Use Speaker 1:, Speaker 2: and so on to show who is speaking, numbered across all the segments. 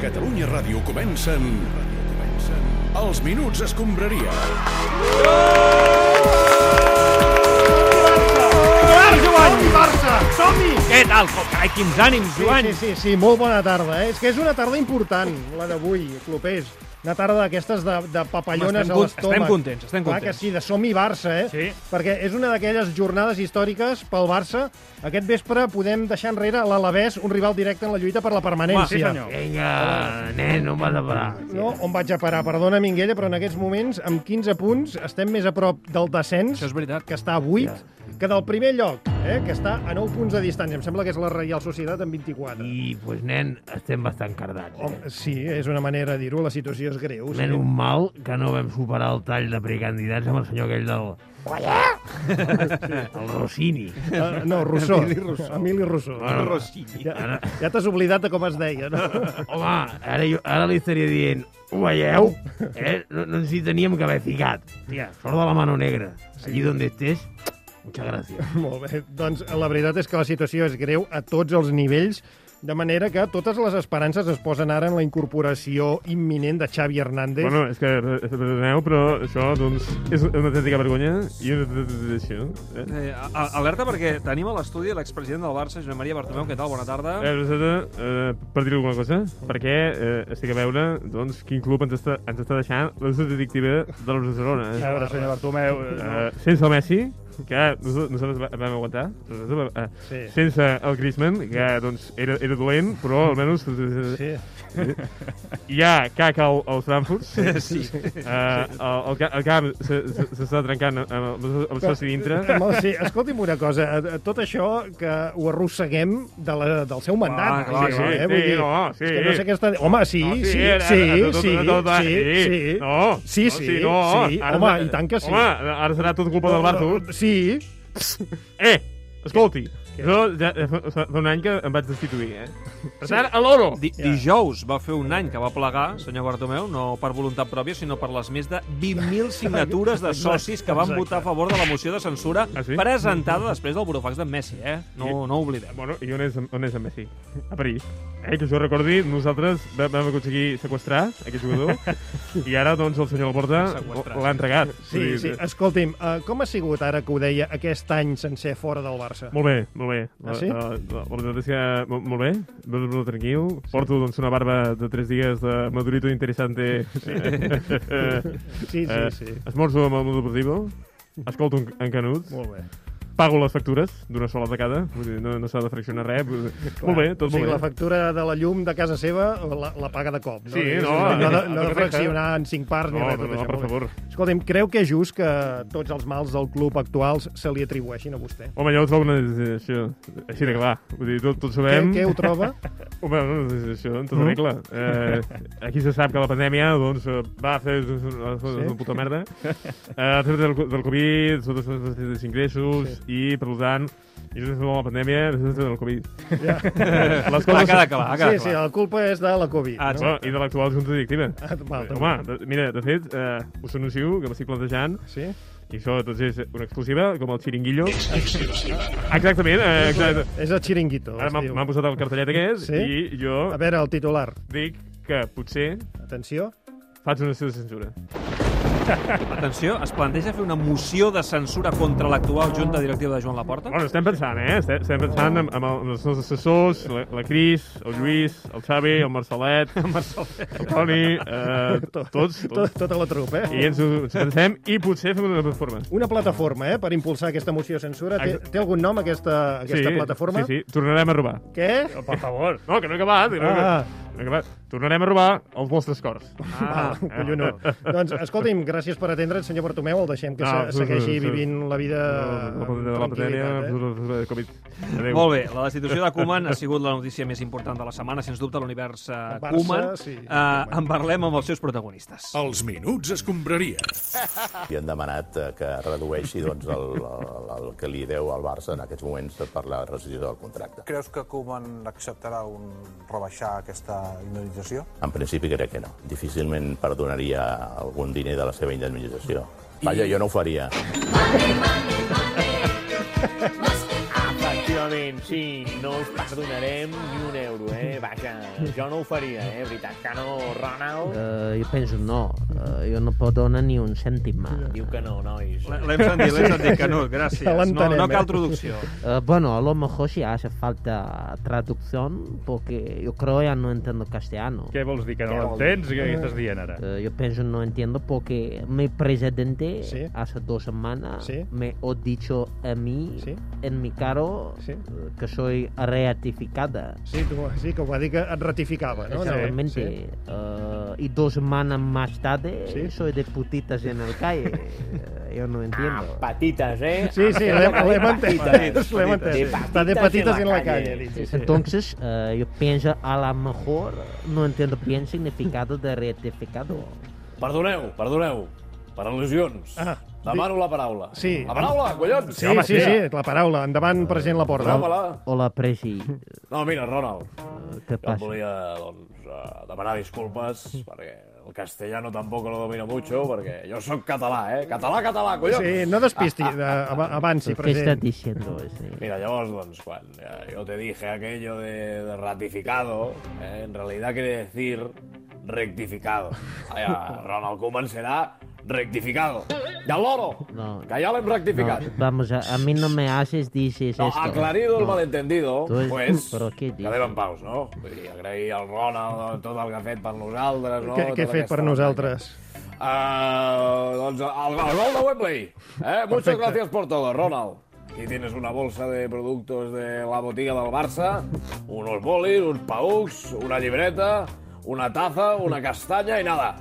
Speaker 1: Catalunya Ràdio comencen... comencen... Els Minuts Escombraria.
Speaker 2: Barça, Joan!
Speaker 3: Barça! Som-hi!
Speaker 2: Què tal? Com- Carai, quins ànims,
Speaker 3: Sí,
Speaker 2: Joan!
Speaker 3: sí, sí, sí, molt bona tarda. Eh? És que és una tarda important, la d'avui, clubers. Una tarda d'aquestes de, de
Speaker 2: Home,
Speaker 3: papallones
Speaker 2: estem
Speaker 3: a
Speaker 2: con-
Speaker 3: l'estómac.
Speaker 2: estem contents, estem
Speaker 3: Clar que
Speaker 2: contents.
Speaker 3: sí, de som i Barça, eh?
Speaker 2: Sí.
Speaker 3: Perquè és una d'aquelles jornades històriques pel Barça. Aquest vespre podem deixar enrere l'Alavés, un rival directe en la lluita per la
Speaker 2: Home,
Speaker 3: permanència.
Speaker 2: sí, senyor.
Speaker 4: Vinga, nen, no m'ha de parar.
Speaker 3: No, on vaig a parar? Perdona, Minguella, però en aquests moments, amb 15 punts, estem més a prop del descens,
Speaker 2: Això és veritat.
Speaker 3: que està a 8, que del primer lloc, eh? que està a 9 punts de distància. Em sembla que és la Reial Societat amb 24.
Speaker 4: I, pues, nen, estem bastant cardats. Eh?
Speaker 3: Home, sí, és una manera de dir-ho, la situació és greu. Sí.
Speaker 4: Menys mal que no vam superar el tall de precandidats amb el senyor aquell del... el Rossini.
Speaker 3: Uh, no, Rousseau. Emili Rousseau.
Speaker 4: Rossini.
Speaker 3: Ja,
Speaker 4: Ara,
Speaker 3: ja t'has oblidat de com es deia, no?
Speaker 4: home, ara, jo, ara li estaria dient, ho veieu? Eh? No, no ens hi teníem que haver ficat. Hòstia, sort de la mano negra. Allí on estés, muchas gracias.
Speaker 3: Molt bé. Doncs la veritat és que la situació és greu a tots els nivells, de manera que totes les esperances es posen ara en la incorporació imminent de Xavi Hernández.
Speaker 5: Bueno, és que re- perdoneu, però això doncs, és una autèntica vergonya i una autèntica tradició. Eh?
Speaker 2: Eh, a- a- alerta perquè tenim a l'estudi l'expresident del Barça, Joan Maria Bartomeu. Què tal? Bona tarda.
Speaker 5: Eh, Roseta, eh, per dir alguna cosa, perquè eh, estic a veure doncs, quin club ens està, ens està deixant la societat directiva de la Barcelona.
Speaker 6: A veure, senyor Bartomeu...
Speaker 5: Eh, sense el Messi, que nos- nosaltres va- vam aguantar, nosaltres vam- eh,
Speaker 3: Sí.
Speaker 5: sense el Griezmann, que doncs, era, era dolent, però almenys... eh,
Speaker 3: Sí.
Speaker 5: Hi ha caca al, al Frankfurt.
Speaker 2: Sí.
Speaker 5: Eh, el, el, ca- el camp se- se- s'està trencant amb el, amb el soci dintre.
Speaker 3: No, sí, escolti'm una cosa, eh, eh, tot això que ho arrosseguem de la, del seu
Speaker 2: Ah,
Speaker 3: mandat.
Speaker 2: clar, sí,
Speaker 3: eh?
Speaker 5: sí,
Speaker 3: Vull dir,
Speaker 5: no, sí.
Speaker 3: és que no sé aquesta... Home, sí,
Speaker 5: No,
Speaker 3: sí,
Speaker 5: eh,
Speaker 3: sí,
Speaker 5: eh, tot-
Speaker 3: sí,
Speaker 5: tot- tot-
Speaker 3: sí,
Speaker 5: sí,
Speaker 3: sí.
Speaker 5: No,
Speaker 3: Sí,
Speaker 5: no,
Speaker 3: sí,
Speaker 5: no,
Speaker 3: sí.
Speaker 5: ara-
Speaker 3: Home, i tant que sí.
Speaker 5: Home, ara serà tot culpa del Barça.
Speaker 3: Sí,
Speaker 5: Eh, escolti, jo ja, fa, fa un any que em vaig destituir, eh? Per tant, a l'oro!
Speaker 2: Di dijous va fer un any que va plegar, senyor Bartomeu, no per voluntat pròpia, sinó per les més de 20.000 signatures de socis que van
Speaker 3: Exacte.
Speaker 2: votar a favor de la moció de censura
Speaker 5: Ah, sí?
Speaker 2: presentada després del burofax d'en Messi, eh? No, no ho oblidem.
Speaker 5: Bueno, i on és, on és en Messi? A París. Eh, que jo recordi, nosaltres va- vam aconseguir seqüestrar aquest jugador i ara, doncs, el senyor Laporta
Speaker 2: Seqüestrar,
Speaker 5: l'ha entregat.
Speaker 3: sí, sí. Escolti'm, eh, com ha sigut ara que ho deia aquest any sencer fora del Barça?
Speaker 5: Molt bé, molt bé. Eh,
Speaker 3: Ah, sí?
Speaker 5: La, la, la veritat és que mo- molt bé, molt, molt tranquil. Porto doncs, una barba de 3 dies de madurito interessante. Sí,
Speaker 3: Sí, sí, sí.
Speaker 5: Esmorzo amb el Mundo Deportivo, escolto en, en Canut,
Speaker 3: Molt bé.
Speaker 5: pago les factures d'una sola tacada, vull dir, no, no s'ha de fraccionar res. Vull dir, molt bé, tot
Speaker 3: o sigui,
Speaker 5: molt
Speaker 3: la
Speaker 5: bé.
Speaker 3: factura de la llum de casa seva la, la paga de cop. No?
Speaker 5: Sí,
Speaker 3: Diguéssim,
Speaker 5: no,
Speaker 3: no, de,
Speaker 5: eh,
Speaker 3: no de
Speaker 5: perfecte.
Speaker 3: fraccionar en cinc parts ni
Speaker 5: No,
Speaker 3: res.
Speaker 5: no,
Speaker 3: tot
Speaker 5: no,
Speaker 3: això,
Speaker 5: per
Speaker 3: molt bé.
Speaker 5: favor.
Speaker 3: Escolti'm, creu que és just que tots els mals del club actuals se li atribueixin a vostè?
Speaker 5: Home, jo ho trobo una decisió així de clar. Vull dir, tot, tots
Speaker 3: Què,
Speaker 5: sabem...
Speaker 3: què ho troba?
Speaker 5: Home, no, no, és això, en tota regla. Eh, aquí se sap que la pandèmia doncs, eh, va fer les coses sí? una puta merda. Eh, després del, del Covid, sota els dels ingressos, sí. i per tant, i després de la pandèmia, després del Covid.
Speaker 3: Ja.
Speaker 5: Eh, Les
Speaker 2: Va,
Speaker 5: coses...
Speaker 2: queda clar, ha
Speaker 3: Sí,
Speaker 2: quedat
Speaker 3: sí,
Speaker 2: clar.
Speaker 3: la culpa és de la Covid.
Speaker 2: Ah,
Speaker 5: No, I de l'actual Junta Directiva.
Speaker 3: Ah, val,
Speaker 5: Eh,
Speaker 3: també.
Speaker 5: Home, de, mira, de fet, eh, us anuncio que m'estic plantejant
Speaker 3: Sí?
Speaker 5: i això doncs, és una exclusiva, com el xiringuillo. Exactament, eh, exacte.
Speaker 3: És el xiringuito.
Speaker 5: Ara
Speaker 3: es
Speaker 5: m'han
Speaker 3: Doncs diu.
Speaker 5: m'han posat el cartellet aquest
Speaker 3: Sí?
Speaker 5: i jo
Speaker 3: A veure, el titular.
Speaker 5: dic que potser
Speaker 3: Atenció.
Speaker 5: Faig una sessió de censura.
Speaker 2: Atenció, es planteja fer una moció de censura contra l'actual junta directiva de Joan Laporta?
Speaker 5: Bueno, estem pensant, eh? Estem, estem pensant amb, amb, el- amb els nostres assessors, la, la Cris, el Lluís, el Xavi, el Marcelet, el, Toni, eh, tots,
Speaker 3: Tot,
Speaker 5: tots.
Speaker 3: tota la trupa, eh?
Speaker 5: I ens, ho- ens ho pensem i potser fem una plataforma.
Speaker 3: Una plataforma, eh?, per impulsar aquesta moció de censura. Té,
Speaker 5: Exacte.
Speaker 3: té algun nom, aquesta, aquesta plataforma?
Speaker 5: Sí, sí, tornarem a robar.
Speaker 3: Què?
Speaker 5: Per favor. No, que no he acabat. Que no, he
Speaker 3: Ah.
Speaker 5: acabat. no he acabat. Tornarem a robar els vostres cors.
Speaker 3: Ah, collonó. doncs, escolti'm, gràcies per atendre'ns, senyor Bartomeu. El deixem que
Speaker 5: No,
Speaker 3: se-
Speaker 5: absolut,
Speaker 3: segueixi
Speaker 5: absolut.
Speaker 3: vivint la vida
Speaker 5: la pandèmia de la
Speaker 3: amb
Speaker 5: pandèmia,
Speaker 3: tranquil·litat, eh?
Speaker 5: absolut, eh? Covid. Adéu.
Speaker 2: Molt bé, la destitució de Koeman ha sigut la notícia més important de la setmana, sens dubte, a l'univers eh,
Speaker 3: Barça,
Speaker 2: Koeman.
Speaker 3: sí,
Speaker 2: Eh,
Speaker 3: Koeman.
Speaker 2: en parlem amb els seus protagonistes.
Speaker 1: Els Minuts Escombraria.
Speaker 7: Li han demanat eh, que redueixi doncs, el, el, el que li deu al Barça en aquests moments per la rescissió del contracte.
Speaker 8: Creus que Koeman acceptarà un rebaixar aquesta indemnització?
Speaker 7: En principi crec que no. Difícilment perdonaria algun diner de la seva indemnització. Vaja, jo no ho faria.
Speaker 9: Must be out there.
Speaker 6: malament, sí, no us perdonarem ni un euro, eh? Va, que jo no ho faria, eh? Veritat que no, Ronald?
Speaker 9: Eh, jo penso no, eh, jo no pot donar ni un cèntim. Eh,
Speaker 6: Diu que no, nois.
Speaker 2: L'hem sentit, l'hem sentit, que no,
Speaker 3: Ja
Speaker 2: gràcies. No,
Speaker 3: l'entenem,
Speaker 2: no
Speaker 3: eh?
Speaker 2: cal traducció.
Speaker 9: bueno, a lo mejor si hace falta traducción, porque yo creo ya no entiendo castellano.
Speaker 10: Què vols dir, que no l'entens? Què què estàs dient ara?
Speaker 9: Eh, yo pienso no entiendo porque mi presidente
Speaker 3: Sí.
Speaker 9: hace dos semanas
Speaker 3: Sí.
Speaker 9: me ha dicho a mí,
Speaker 3: Sí.
Speaker 9: en mi caro,
Speaker 3: Sí.
Speaker 9: eh, que soy ratificada.
Speaker 3: Sí, tu, sí, que ho va dir que et ratificava, no?
Speaker 9: Exactamente.
Speaker 3: Sí,
Speaker 9: Eh, y dos semanas más tarde
Speaker 3: Sí.
Speaker 9: soy de putitas en el calle. Eh, yo no entiendo.
Speaker 6: Ah, petites, eh?
Speaker 3: sí, sí l'hem l'hem entès.
Speaker 6: Petites.
Speaker 3: L'hem
Speaker 6: De
Speaker 3: entès. Està de petites en la calle. ha dit, sí, sí.
Speaker 9: Entonces, eh, yo pienso, a lo mejor no entiendo bien el significado de ratificado.
Speaker 6: Perdoneu, perdoneu. Per al·lusions.
Speaker 3: Ah,
Speaker 6: Demano la paraula.
Speaker 3: Sí.
Speaker 6: La paraula, collons!
Speaker 3: Sí, home, sí, Ah. sí, la paraula. Endavant, present la porta.
Speaker 6: Paraula.
Speaker 9: Hola, Presi.
Speaker 6: No, mira, Ronald,
Speaker 9: Eh,
Speaker 6: jo
Speaker 9: ¿Qué
Speaker 6: et
Speaker 9: pasa?
Speaker 6: volia doncs, eh, demanar disculpes perquè el castellano tampoc lo domino mucho, perquè jo sóc català, eh? Català, català, collons!
Speaker 3: Sí, no despisti, de- ava- avanci,
Speaker 9: ¿Qué estás
Speaker 3: present.
Speaker 9: diciendo? eh? ese?
Speaker 6: Mira, llavors, doncs, quan eh, jo te dije aquello de, de ratificado, eh, en realidad quiere decir rectificado. Allà, Ronald Koeman serà rectificado. I el loro,
Speaker 9: No.
Speaker 6: que ja l'hem rectificat.
Speaker 9: No, vamos, a, a mí no me haces, dices
Speaker 6: No,
Speaker 9: esto.
Speaker 6: aclarido el
Speaker 9: No.
Speaker 6: malentendido,
Speaker 9: Tu és-
Speaker 6: pues,
Speaker 9: però què dius?
Speaker 6: quedem en paus, no? Vull dir, agrair al Ronald tot el que ha fet per nosaltres, no?
Speaker 3: Què, què he
Speaker 6: Tota
Speaker 3: fet per
Speaker 6: aquesta-
Speaker 3: nosaltres?
Speaker 6: Ah, doncs el, el gol de Wembley. Eh? Muchas
Speaker 3: Perfecte.
Speaker 6: gracias por todo, Ronald. Aquí tienes una bolsa de productos de la botiga del Barça, unos bolis, uns paucs, una llibreta, una taza, una castanya i nada.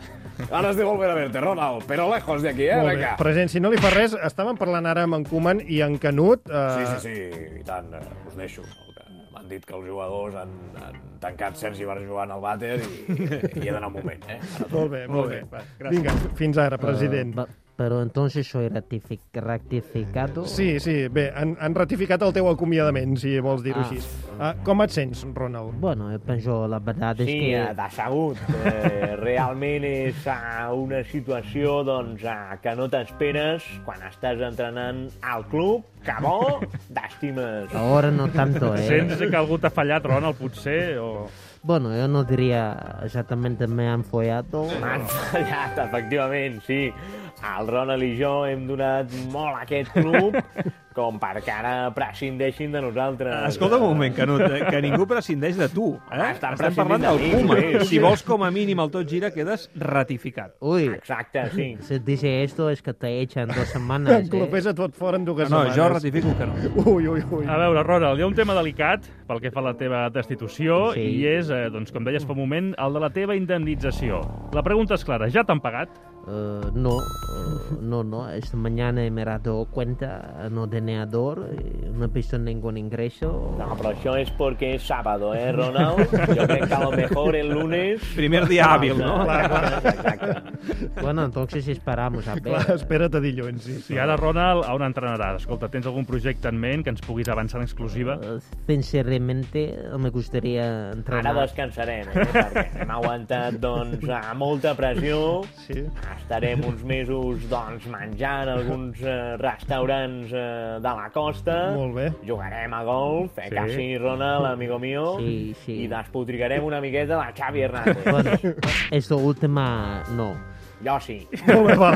Speaker 6: Ganas de volver a verte, Ronald, pero lejos de aquí, eh?
Speaker 3: Molt bé.
Speaker 6: Venga.
Speaker 3: Present, si no li fa res, estàvem parlant ara amb en Koeman i en Canut.
Speaker 6: Sí,
Speaker 3: Eh,
Speaker 6: sí, sí, i tant, eh, us deixo. El que- M'han dit que els jugadors han, han tancat Sergi Barjuan al vàter i, i he d'anar un moment, eh? Ara
Speaker 3: Molt bé, molt bé. Va, gràcies. Vinga, fins ara, president.
Speaker 9: Eh, Va- Pero entonces soy ratific- ratificado.
Speaker 3: Sí, sí, bé, han, han ratificat el teu acomiadament, si vols dir-ho
Speaker 9: Ah.
Speaker 3: així. Ah, com et sents, Ronald?
Speaker 9: Bueno, yo pienso, la verdad es
Speaker 6: Sí,
Speaker 9: que...
Speaker 6: eh, decebut. Eh, realment és eh, una situació doncs, eh, que no t'esperes quan estàs entrenant al club que bo t'estimes.
Speaker 9: Ahora no tanto, ¿eh?
Speaker 10: Sents que algú t'ha fallat, Ronald, potser? O...
Speaker 9: Bueno, yo no diría exactamente me han follado.
Speaker 6: M'han fallat, efectivament, sí. El Ronald i jo hem donat molt a aquest club com perquè ara prescindeixin de nosaltres.
Speaker 2: Escolta un moment, Canut, eh, que ningú prescindeix de tu. Eh?
Speaker 6: Estan
Speaker 2: Estem parlant
Speaker 6: prescindint
Speaker 2: del
Speaker 6: de mi,
Speaker 2: Puma.
Speaker 6: sí.
Speaker 2: eh, Si vols, com a mínim, el tot gira, quedes ratificat.
Speaker 9: Uy,
Speaker 6: Exacte, sí.
Speaker 9: si dice esto es que te echan dos
Speaker 3: El
Speaker 9: semanas. ¿eh?
Speaker 3: club és a tot fora en dues
Speaker 2: No, jo
Speaker 3: setmanes.
Speaker 2: ratifico que no.
Speaker 3: Ui, ui, ui.
Speaker 9: Ah,
Speaker 10: A veure, Ronald, hi ha un tema delicat pel que fa a la teva destitució
Speaker 9: Sí.
Speaker 10: i és, eh, doncs, com deies fa un moment, el de la teva indemnització. La pregunta és clara, ja t'han pagat?
Speaker 9: Eh, no, eh, no, no. Esta mañana me he dado cuenta, eh, no tenedor, no he visto ningún ingreso.
Speaker 6: No, però això és perquè és sábado, eh, Ronald? Jo crec que a lo mejor el lunes...
Speaker 2: Primer dia hàbil, no?
Speaker 6: Exacte.
Speaker 9: Bueno, entonces esperamos a ver.
Speaker 3: Clar, espera't a dilluns, sí. sí.
Speaker 2: Ah.
Speaker 10: I ara, Ronald, a on entrenaràs? Escolta, tens algun projecte en ment que ens puguis avançar en exclusiva?
Speaker 9: Eh, Sinceramente,
Speaker 4: eh,
Speaker 9: me gustaría
Speaker 6: Ara
Speaker 9: entrenar.
Speaker 6: descansarem, eh? perquè hem aguantat doncs, a molta pressió.
Speaker 3: Sí.
Speaker 6: Estarem uns mesos doncs, menjant a alguns eh, restaurants eh, de la costa.
Speaker 3: Molt bé.
Speaker 6: Jugarem a golf, eh, sí. que sí, Ronald, amigo mío.
Speaker 9: Sí, sí.
Speaker 6: I despotricarem una miqueta de Xavi Hernández.
Speaker 9: Bueno, esto última, no.
Speaker 6: Jo sí.
Speaker 3: Molt bé, va.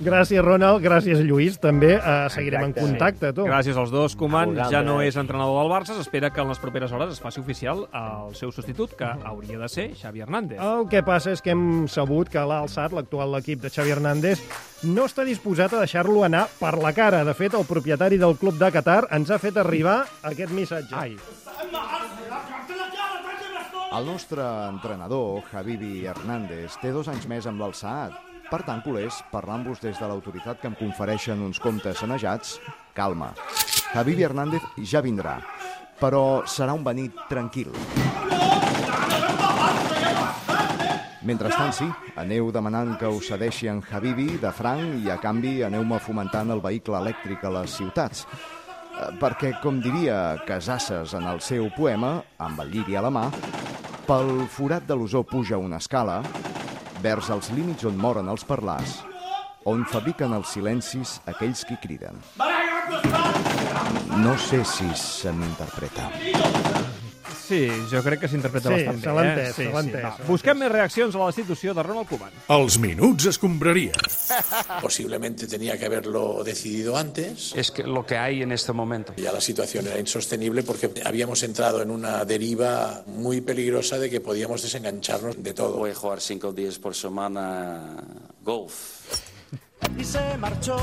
Speaker 3: Gràcies, Ronald. Gràcies, Lluís, també. Eh, seguirem en
Speaker 6: Exacte. eh?
Speaker 3: contacte, tu.
Speaker 2: Gràcies als dos, Koeman
Speaker 6: Vosaltres.
Speaker 2: ja no és entrenador del Barça, s'espera que en les properes hores es faci oficial el seu substitut, que hauria de ser Xavi Hernández.
Speaker 3: El que passa és que hem sabut que l'ha alçat l'actual equip de Xavi Hernández no està disposat a deixar-lo anar per la cara. De fet, el propietari del club de Qatar ens ha fet arribar aquest missatge. Ai.
Speaker 11: El nostre entrenador, Javibi Hernández, té dos anys més amb l'alçat. Per tant, culers, parlant-vos des de l'autoritat que em confereixen uns comptes sanejats, calma. Javibi Hernández ja vindrà, però serà un venit tranquil. Mentrestant, sí, aneu demanant que us cedeixi en Habibi de franc i, a canvi, aneu-me fomentant el vehicle elèctric a les ciutats. Eh, perquè, com diria Casasses en el seu poema, amb el lliri a la mà, pel forat de l'usó puja una escala vers els límits on moren els parlars, on fabriquen els silencis aquells qui criden. No sé si se m'interpreta.
Speaker 2: Sí, jo crec que s'interpreta
Speaker 11: Sí,
Speaker 2: bastant bé. eh?
Speaker 11: se l'ha entès, se l'ha entès,
Speaker 2: va. Busquem més reaccions a la destitució de Ronald Koeman.
Speaker 1: Els minuts escombraria.
Speaker 12: Posiblemente tenía que haberlo decidido antes. Es que lo que hay en este momento. Ya la situación era insostenible porque habíamos entrado en una deriva muy peligrosa de que podíamos desengancharnos de todo. Voy a jugar cinco días por semana golf.
Speaker 13: Y se marchó.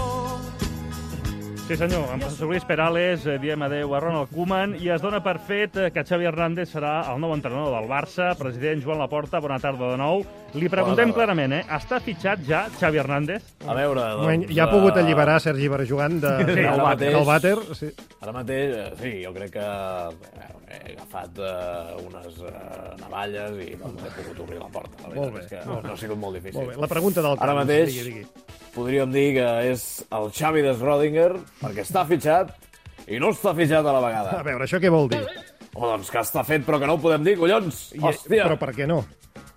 Speaker 10: Sí, senyor, amb José Luis Perales eh, diem adeu a Ronald Koeman i es dona per fet eh, que Xavi Hernández serà el nou entrenador del Barça, president Joan Laporta, bona tarda de nou. Li preguntem
Speaker 6: tarda.
Speaker 10: clarament, eh, està fitxat ja Xavi Hernández?
Speaker 6: A veure,
Speaker 3: Un
Speaker 6: doncs...
Speaker 3: moment, ja ha pogut alliberar Sergi Barjugant de,
Speaker 6: Sí,
Speaker 3: del,
Speaker 6: ara mateix-
Speaker 3: del vàter. Sí.
Speaker 6: Ara mateix, eh, sí, jo crec que eh, he agafat eh, unes eh, navalles i doncs he pogut obrir la porta. La veritat
Speaker 3: Molt bé,
Speaker 6: és que
Speaker 3: molt bé.
Speaker 6: no ha sigut molt difícil.
Speaker 3: Molt bé, la pregunta del
Speaker 6: Ara
Speaker 3: Carles,
Speaker 6: mateix
Speaker 3: digui,
Speaker 6: podríem dir que és el Xavi de Schrödinger perquè està fitxat i no està fitxat a la vegada.
Speaker 3: A veure, això què vol dir?
Speaker 6: Home, doncs que està fet però que no ho podem dir, collons!
Speaker 3: I-
Speaker 6: Hòstia!
Speaker 3: Però per què no?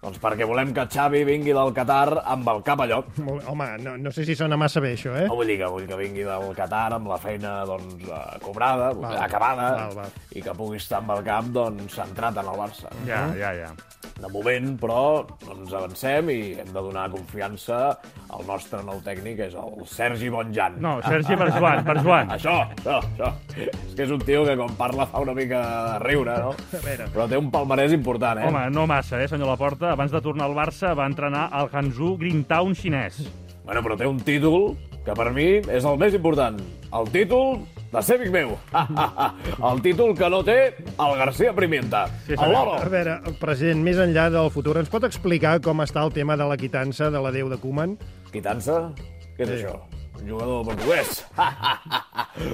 Speaker 6: Doncs perquè volem que Xavi vingui del Qatar amb el cap a lloc.
Speaker 3: Molt bé. Home, no, no sé si sona massa bé, això, eh?
Speaker 6: No vull dir que, vull que vingui del Qatar amb la feina doncs, eh, cobrada,
Speaker 3: Val,
Speaker 6: acabada,
Speaker 3: val, val.
Speaker 6: i que pugui estar amb el cap doncs, centrat en el Barça.
Speaker 10: Ja, ja, ja.
Speaker 6: De moment, però, doncs avancem i hem de donar confiança al nostre nou tècnic, és el Sergi Bonjan.
Speaker 10: No, Sergi Barjuan, Barjuan.
Speaker 6: Això, això, això. És que és un tio que quan parla fa una mica de riure, no?
Speaker 10: A veure.
Speaker 6: Però té un palmarès important, eh?
Speaker 10: Home, no massa, eh, senyor Laporta. Abans de tornar al Barça va entrenar al Hangzhou Greentown xinès.
Speaker 6: Bueno, però té un títol que per mi és el més important. El títol de ser amic meu. el títol que no té el García Primienta. Sí, el Loro.
Speaker 3: A veure, president, més enllà del futur, ens pot explicar com està el tema de la quitança de la Déu de Koeman?
Speaker 6: Quitança? Què és això? Un jugador portuguès.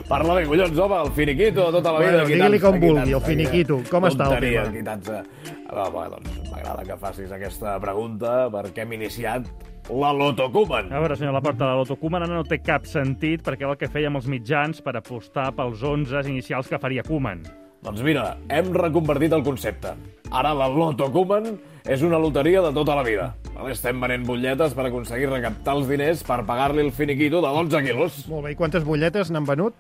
Speaker 6: Parla bé, collons, home, el finiquito de tota la vida.
Speaker 3: Bueno, digui-li
Speaker 6: quitança,
Speaker 3: com vulgui,
Speaker 6: quitança,
Speaker 3: el finiquito.
Speaker 6: quitança.
Speaker 3: Com està el
Speaker 6: Tonteria,
Speaker 3: tema?
Speaker 6: Quitança. Va, va, doncs m'agrada que facis aquesta pregunta perquè hem iniciat la Loto Koeman.
Speaker 10: A veure, senyor Laporta, la Lotocuman ara no té cap sentit perquè era el que fèiem els mitjans per apostar pels 11 inicials que faria Koeman.
Speaker 6: Doncs mira, hem reconvertit el concepte. Ara la Loto Koeman és una loteria de tota la vida. Vale? Estem venent butlletes per aconseguir recaptar els diners per pagar-li el finiquito de 12 quilos.
Speaker 3: Molt bé, i quantes butlletes n'han venut?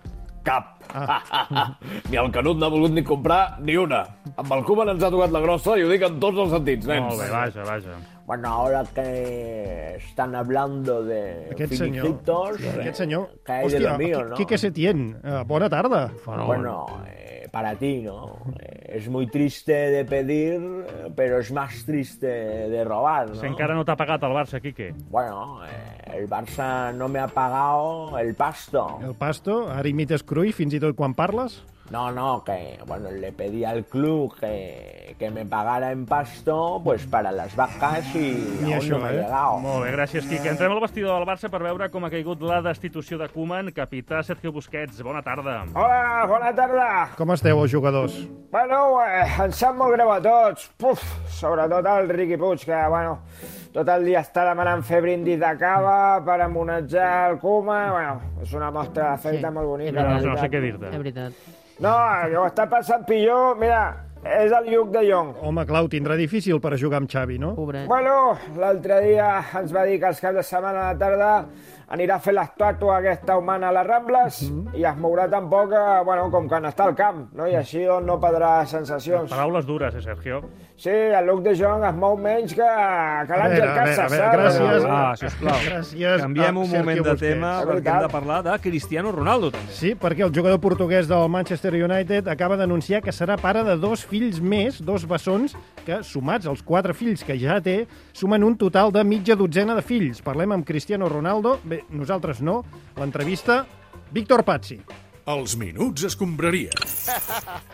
Speaker 6: Cap. Ah. ni el Canut n'ha volgut ni comprar ni una. Amb el Koeman ens ha tocat la grossa i ho dic en tots els sentits, nens.
Speaker 10: Molt bé, vaja, vaja.
Speaker 14: Bueno, ahora que están hablando de
Speaker 3: Aquest senyor.
Speaker 14: finiquitos, eh,
Speaker 3: Aquest senyor.
Speaker 14: que hay de lo mío, ¿no?
Speaker 3: Quique Setién, eh, bona tarda.
Speaker 14: Bueno, eh, para ti, ¿no? Eh, es muy triste de pedir, eh, pero es más triste de robar, ¿no?
Speaker 10: Si encara no t'ha pagat el Barça, Quique.
Speaker 14: Bueno, eh, el Barça no me ha pagado el pasto.
Speaker 3: El Pasto, ara imites Cruyff, fins i tot quan parles.
Speaker 14: No, no, que bueno, le pedí al club que, que me pagara en pasto, pues para las vacas y
Speaker 10: Ni
Speaker 14: aún
Speaker 10: això,
Speaker 14: no me ha
Speaker 10: eh?
Speaker 14: llegado.
Speaker 10: Molt bé, gràcies, Quique. Entrem al vestidor del Barça per veure com ha caigut la destitució de Koeman. Capità Sergio Busquets, bona tarda.
Speaker 15: Hola, bona tarda.
Speaker 3: Com esteu, els jugadors?
Speaker 15: Bueno, eh, em sap molt greu a tots. Puf, sobretot al Riqui Puig, que, bueno, tot el dia està demanant fer brindis de cava per homenatjar el Kuma. Bueno, és una mostra d'afecte
Speaker 10: Sí.
Speaker 15: molt bonica.
Speaker 10: No,
Speaker 15: la
Speaker 10: no, no sé
Speaker 15: veritat.
Speaker 10: què dir-te. És
Speaker 16: veritat.
Speaker 15: No, eh, que ho està passant millor, mira, és el Lluc de Jong.
Speaker 3: Home, Clau, tindrà difícil per jugar amb Xavi, no?
Speaker 16: Pobret.
Speaker 15: Bueno, l'altre dia ens va dir que els caps de setmana a la tarda anirà a fer l'estàtua aquesta humana a les Rambles
Speaker 3: Mhm.
Speaker 15: i es mourà tan poc que, bueno, com que n'està al camp, no? i així doncs, no perdrà sensacions.
Speaker 10: Paraules dures, eh, Sergio?
Speaker 15: Sí, el Luc de Jong es mou menys que, que
Speaker 3: A
Speaker 15: l'Àngel
Speaker 3: veure, a veure, a
Speaker 15: Casas,
Speaker 3: veure,
Speaker 15: saps?
Speaker 3: gràcies.
Speaker 2: Ah, sisplau.
Speaker 3: Gràcies.
Speaker 2: Canviem
Speaker 3: a
Speaker 2: un
Speaker 3: Sergio
Speaker 2: moment de
Speaker 3: Busquets.
Speaker 2: tema perquè hem de parlar de Cristiano Ronaldo, també.
Speaker 3: Sí, perquè el jugador portuguès del Manchester United acaba d'anunciar que serà pare de dos fills més, dos bessons, que, sumats als quatre fills que ja té, sumen un total de mitja dotzena de fills. Parlem amb Cristiano Ronaldo, bé, nosaltres no, l'entrevista, Víctor Pazzi.
Speaker 1: Els minuts escombraria.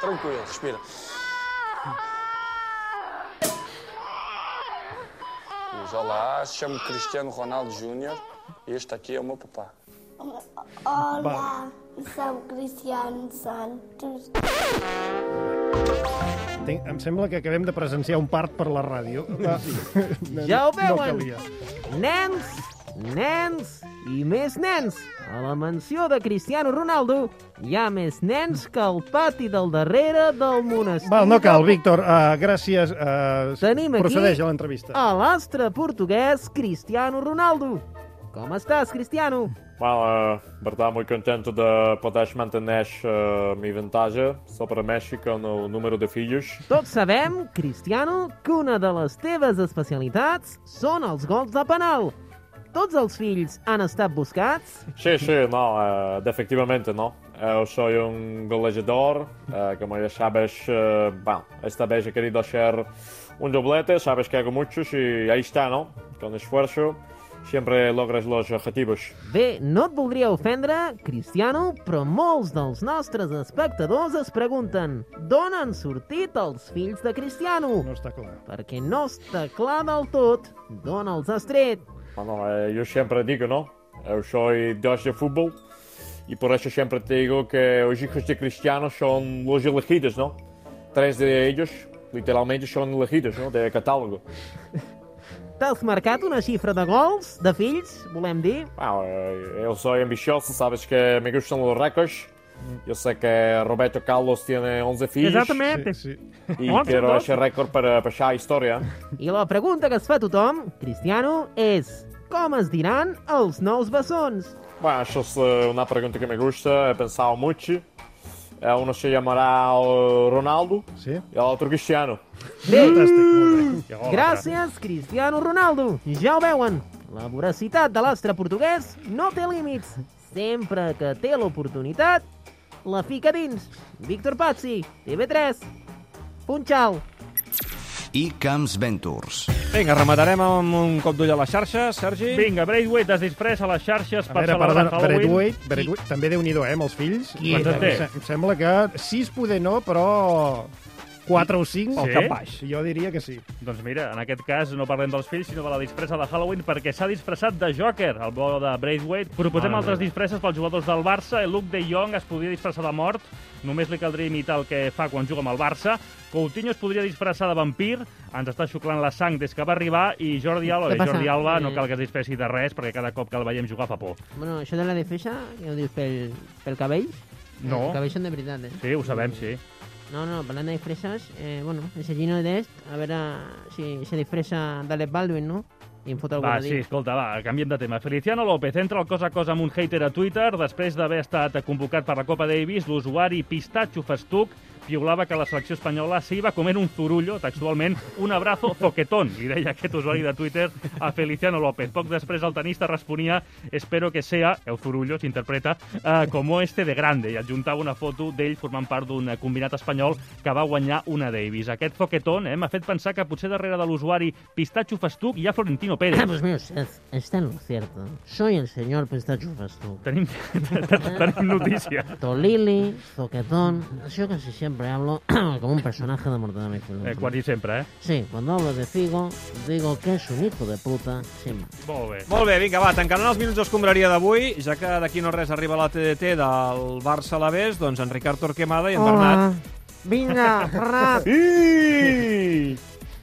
Speaker 12: Tranquilo, respira. Diz, Olá, chamo Cristiano Ronaldo Júnior e este aqui é o meu papá.
Speaker 17: Hola, som Cristian Santos.
Speaker 3: Tinc, em sembla que acabem de presenciar un part per la ràdio. Sí.
Speaker 9: Ja ho veuen.
Speaker 3: No calia.
Speaker 9: Nens, nens i més nens. A la mansió de Cristiano Ronaldo hi ha més nens que al pati del darrere del monestir.
Speaker 3: Val, no cal, Víctor. Uh, gràcies. Uh,
Speaker 9: Tenim aquí
Speaker 3: procedeix a l'entrevista.
Speaker 9: A l'astre portuguès Cristiano Ronaldo. Com estàs, Cristiano?
Speaker 18: Мало, братан, мой контент да podeš manteneš uh, mi ventaja sobre México no número de filhos.
Speaker 4: Tots sabem, Cristiano, que una de les teves especialitats són els gols de penal. Tots els fills han estat buscats?
Speaker 18: Sí, sí, no, uh, efectivamente, no. Eu sou um golejador, uh, como já sabes, uh, bom, esta vez he querido hacer un doblete, sabes que hago muchos y ahí está, ¿no? Con esfuerzo siempre logras los objetivos.
Speaker 4: Bé, no et voldria ofendre, Cristiano, però molts dels nostres espectadors es pregunten d'on han sortit els fills de Cristiano?
Speaker 3: No està clar.
Speaker 4: Perquè no està clar del tot d'on els has tret.
Speaker 18: Bueno, eh, yo siempre digo, ¿no? Eh, Yo soy Dios de fútbol y por eso siempre te digo que los hijos de cristianos son los elegidos, ¿no? Tres de ellos literalmente son elegidos, ¿no? De catálogo.
Speaker 4: T'has marcat una xifra de gols, de fills, volem dir?
Speaker 18: Bueno, eh, yo soy ambicioso, sabes que me gustan los récords. Yo sé que Roberto Carlos tiene 11 fills.
Speaker 4: Exactamente. Sí, sí.
Speaker 18: Y
Speaker 4: 11,
Speaker 18: quiero
Speaker 4: 12.
Speaker 18: ese récord para pasar a historia.
Speaker 4: I la pregunta que es fa tothom, Cristiano, és com es diran els nous bessons?
Speaker 18: Bueno, eso es eh, una pregunta que me gusta, é he pensado mucho. Eh, Uno se llamará eh, Ronaldo y el otro Cristiano.
Speaker 4: Gràcies, Cristiano Ronaldo. Ja ho veuen, la voracitat de l'astre portuguès no té límits. Sempre que té l'oportunitat, la fica dins. Víctor Pazzi, TV3. Punxal.
Speaker 11: I Camps Ventures.
Speaker 2: Vinga, rematarem amb un cop d'ull a la xarxa, Sergi.
Speaker 10: Vinga, Braithwaite es disfressa a les xarxes
Speaker 3: A
Speaker 10: per
Speaker 3: veure,
Speaker 10: celebrar
Speaker 3: perdona,
Speaker 10: Halloween.
Speaker 3: Braithwaite, Braithwaite, també déu nhi eh, amb els fills.
Speaker 10: Qui?
Speaker 3: Em-
Speaker 10: Quants en té?
Speaker 3: em- Em sembla que 6 poder no, però 4 o 5
Speaker 10: Sí?
Speaker 3: al cap baix. Jo diria que sí.
Speaker 10: Doncs mira, en aquest cas no parlem dels fills, sinó de la disfressa de Halloween, perquè s'ha disfressat de Joker, el bo de Braithwaite. Proposem
Speaker 3: Mare
Speaker 4: Ah,
Speaker 10: altres
Speaker 3: meva.
Speaker 10: disfresses pels jugadors del Barça. El Luke de Jong es podria disfressar de mort, només li caldria imitar el que fa quan juga amb el Barça. Coutinho es podria disfressar de vampir, ens està xuclant la sang des que va arribar, i Jordi Alba,
Speaker 4: Què
Speaker 10: bé,
Speaker 4: passa?
Speaker 10: Jordi Alba no
Speaker 4: Eh.
Speaker 10: cal que es disfressi de res, perquè cada cop que el veiem jugar fa por.
Speaker 4: Bueno, això de la defeixa, ja ho dius pel, pel cabell?
Speaker 10: No.
Speaker 4: Els cabells són de veritat, eh?
Speaker 10: Sí, ho sabem, sí.
Speaker 4: No, no, parlant de disfresses, eh, bueno, el Sergino d'Est, a veure si se disfressa d'Alec Baldwin, no? I em fot alguna
Speaker 10: Va, sí, escolta, va, canviem de tema. Feliciano López entra al cos a cos amb un hater a Twitter després d'haver estat convocat per la Copa Davis, l'usuari Pistacho Festuc piulava que la selecció espanyola s'hi va comer un zurullo, textualment, un abrazo zoquetón, li deia aquest usuari de Twitter a Feliciano López. Poc després el tenista responia espero que sea, el zurullo s'interpreta, eh, como este de grande, i adjuntava una foto d'ell formant part d'un eh, combinat espanyol que va guanyar una Davis. Aquest zoquetón eh, m'ha fet pensar que potser darrere de l'usuari Pistacho Festuc hi ha Florentino Pérez.
Speaker 4: Ah, Pues mira, usted está en lo cierto. Soy el señor Pistacho Festuc.
Speaker 10: Tenim, tenim notícia.
Speaker 4: Tolili, Zoquetón... Yo casi siempre hablo como un personaje de Mortadelo y Filemón.
Speaker 10: Eh, quasi sempre, eh?
Speaker 4: Sí, cuando hablo de Figo, digo que es un hijo de puta sin más.
Speaker 10: Molt bé.
Speaker 2: Molt bé, vinga, va, tancant els minuts d'escombraria d'avui, ja que d'aquí no res arriba la TDT del Barça a l'Avés, doncs en Ricard Torquemada i en Bernat.
Speaker 4: Vinga, Bernat.
Speaker 2: I...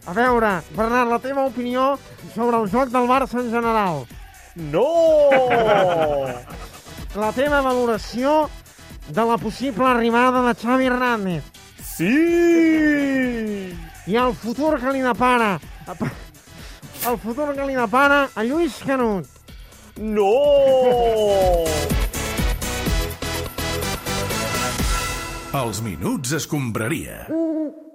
Speaker 4: A veure, Bernat, la teva opinió sobre el joc del Barça en general.
Speaker 1: No!
Speaker 4: La teva valoració de la possible arribada de Xavi Hernández.
Speaker 1: Sí!
Speaker 4: I el futur que li depara. El futur que li depara a Lluís Canut.
Speaker 1: No!
Speaker 6: Els minuts escombraria.
Speaker 4: Molt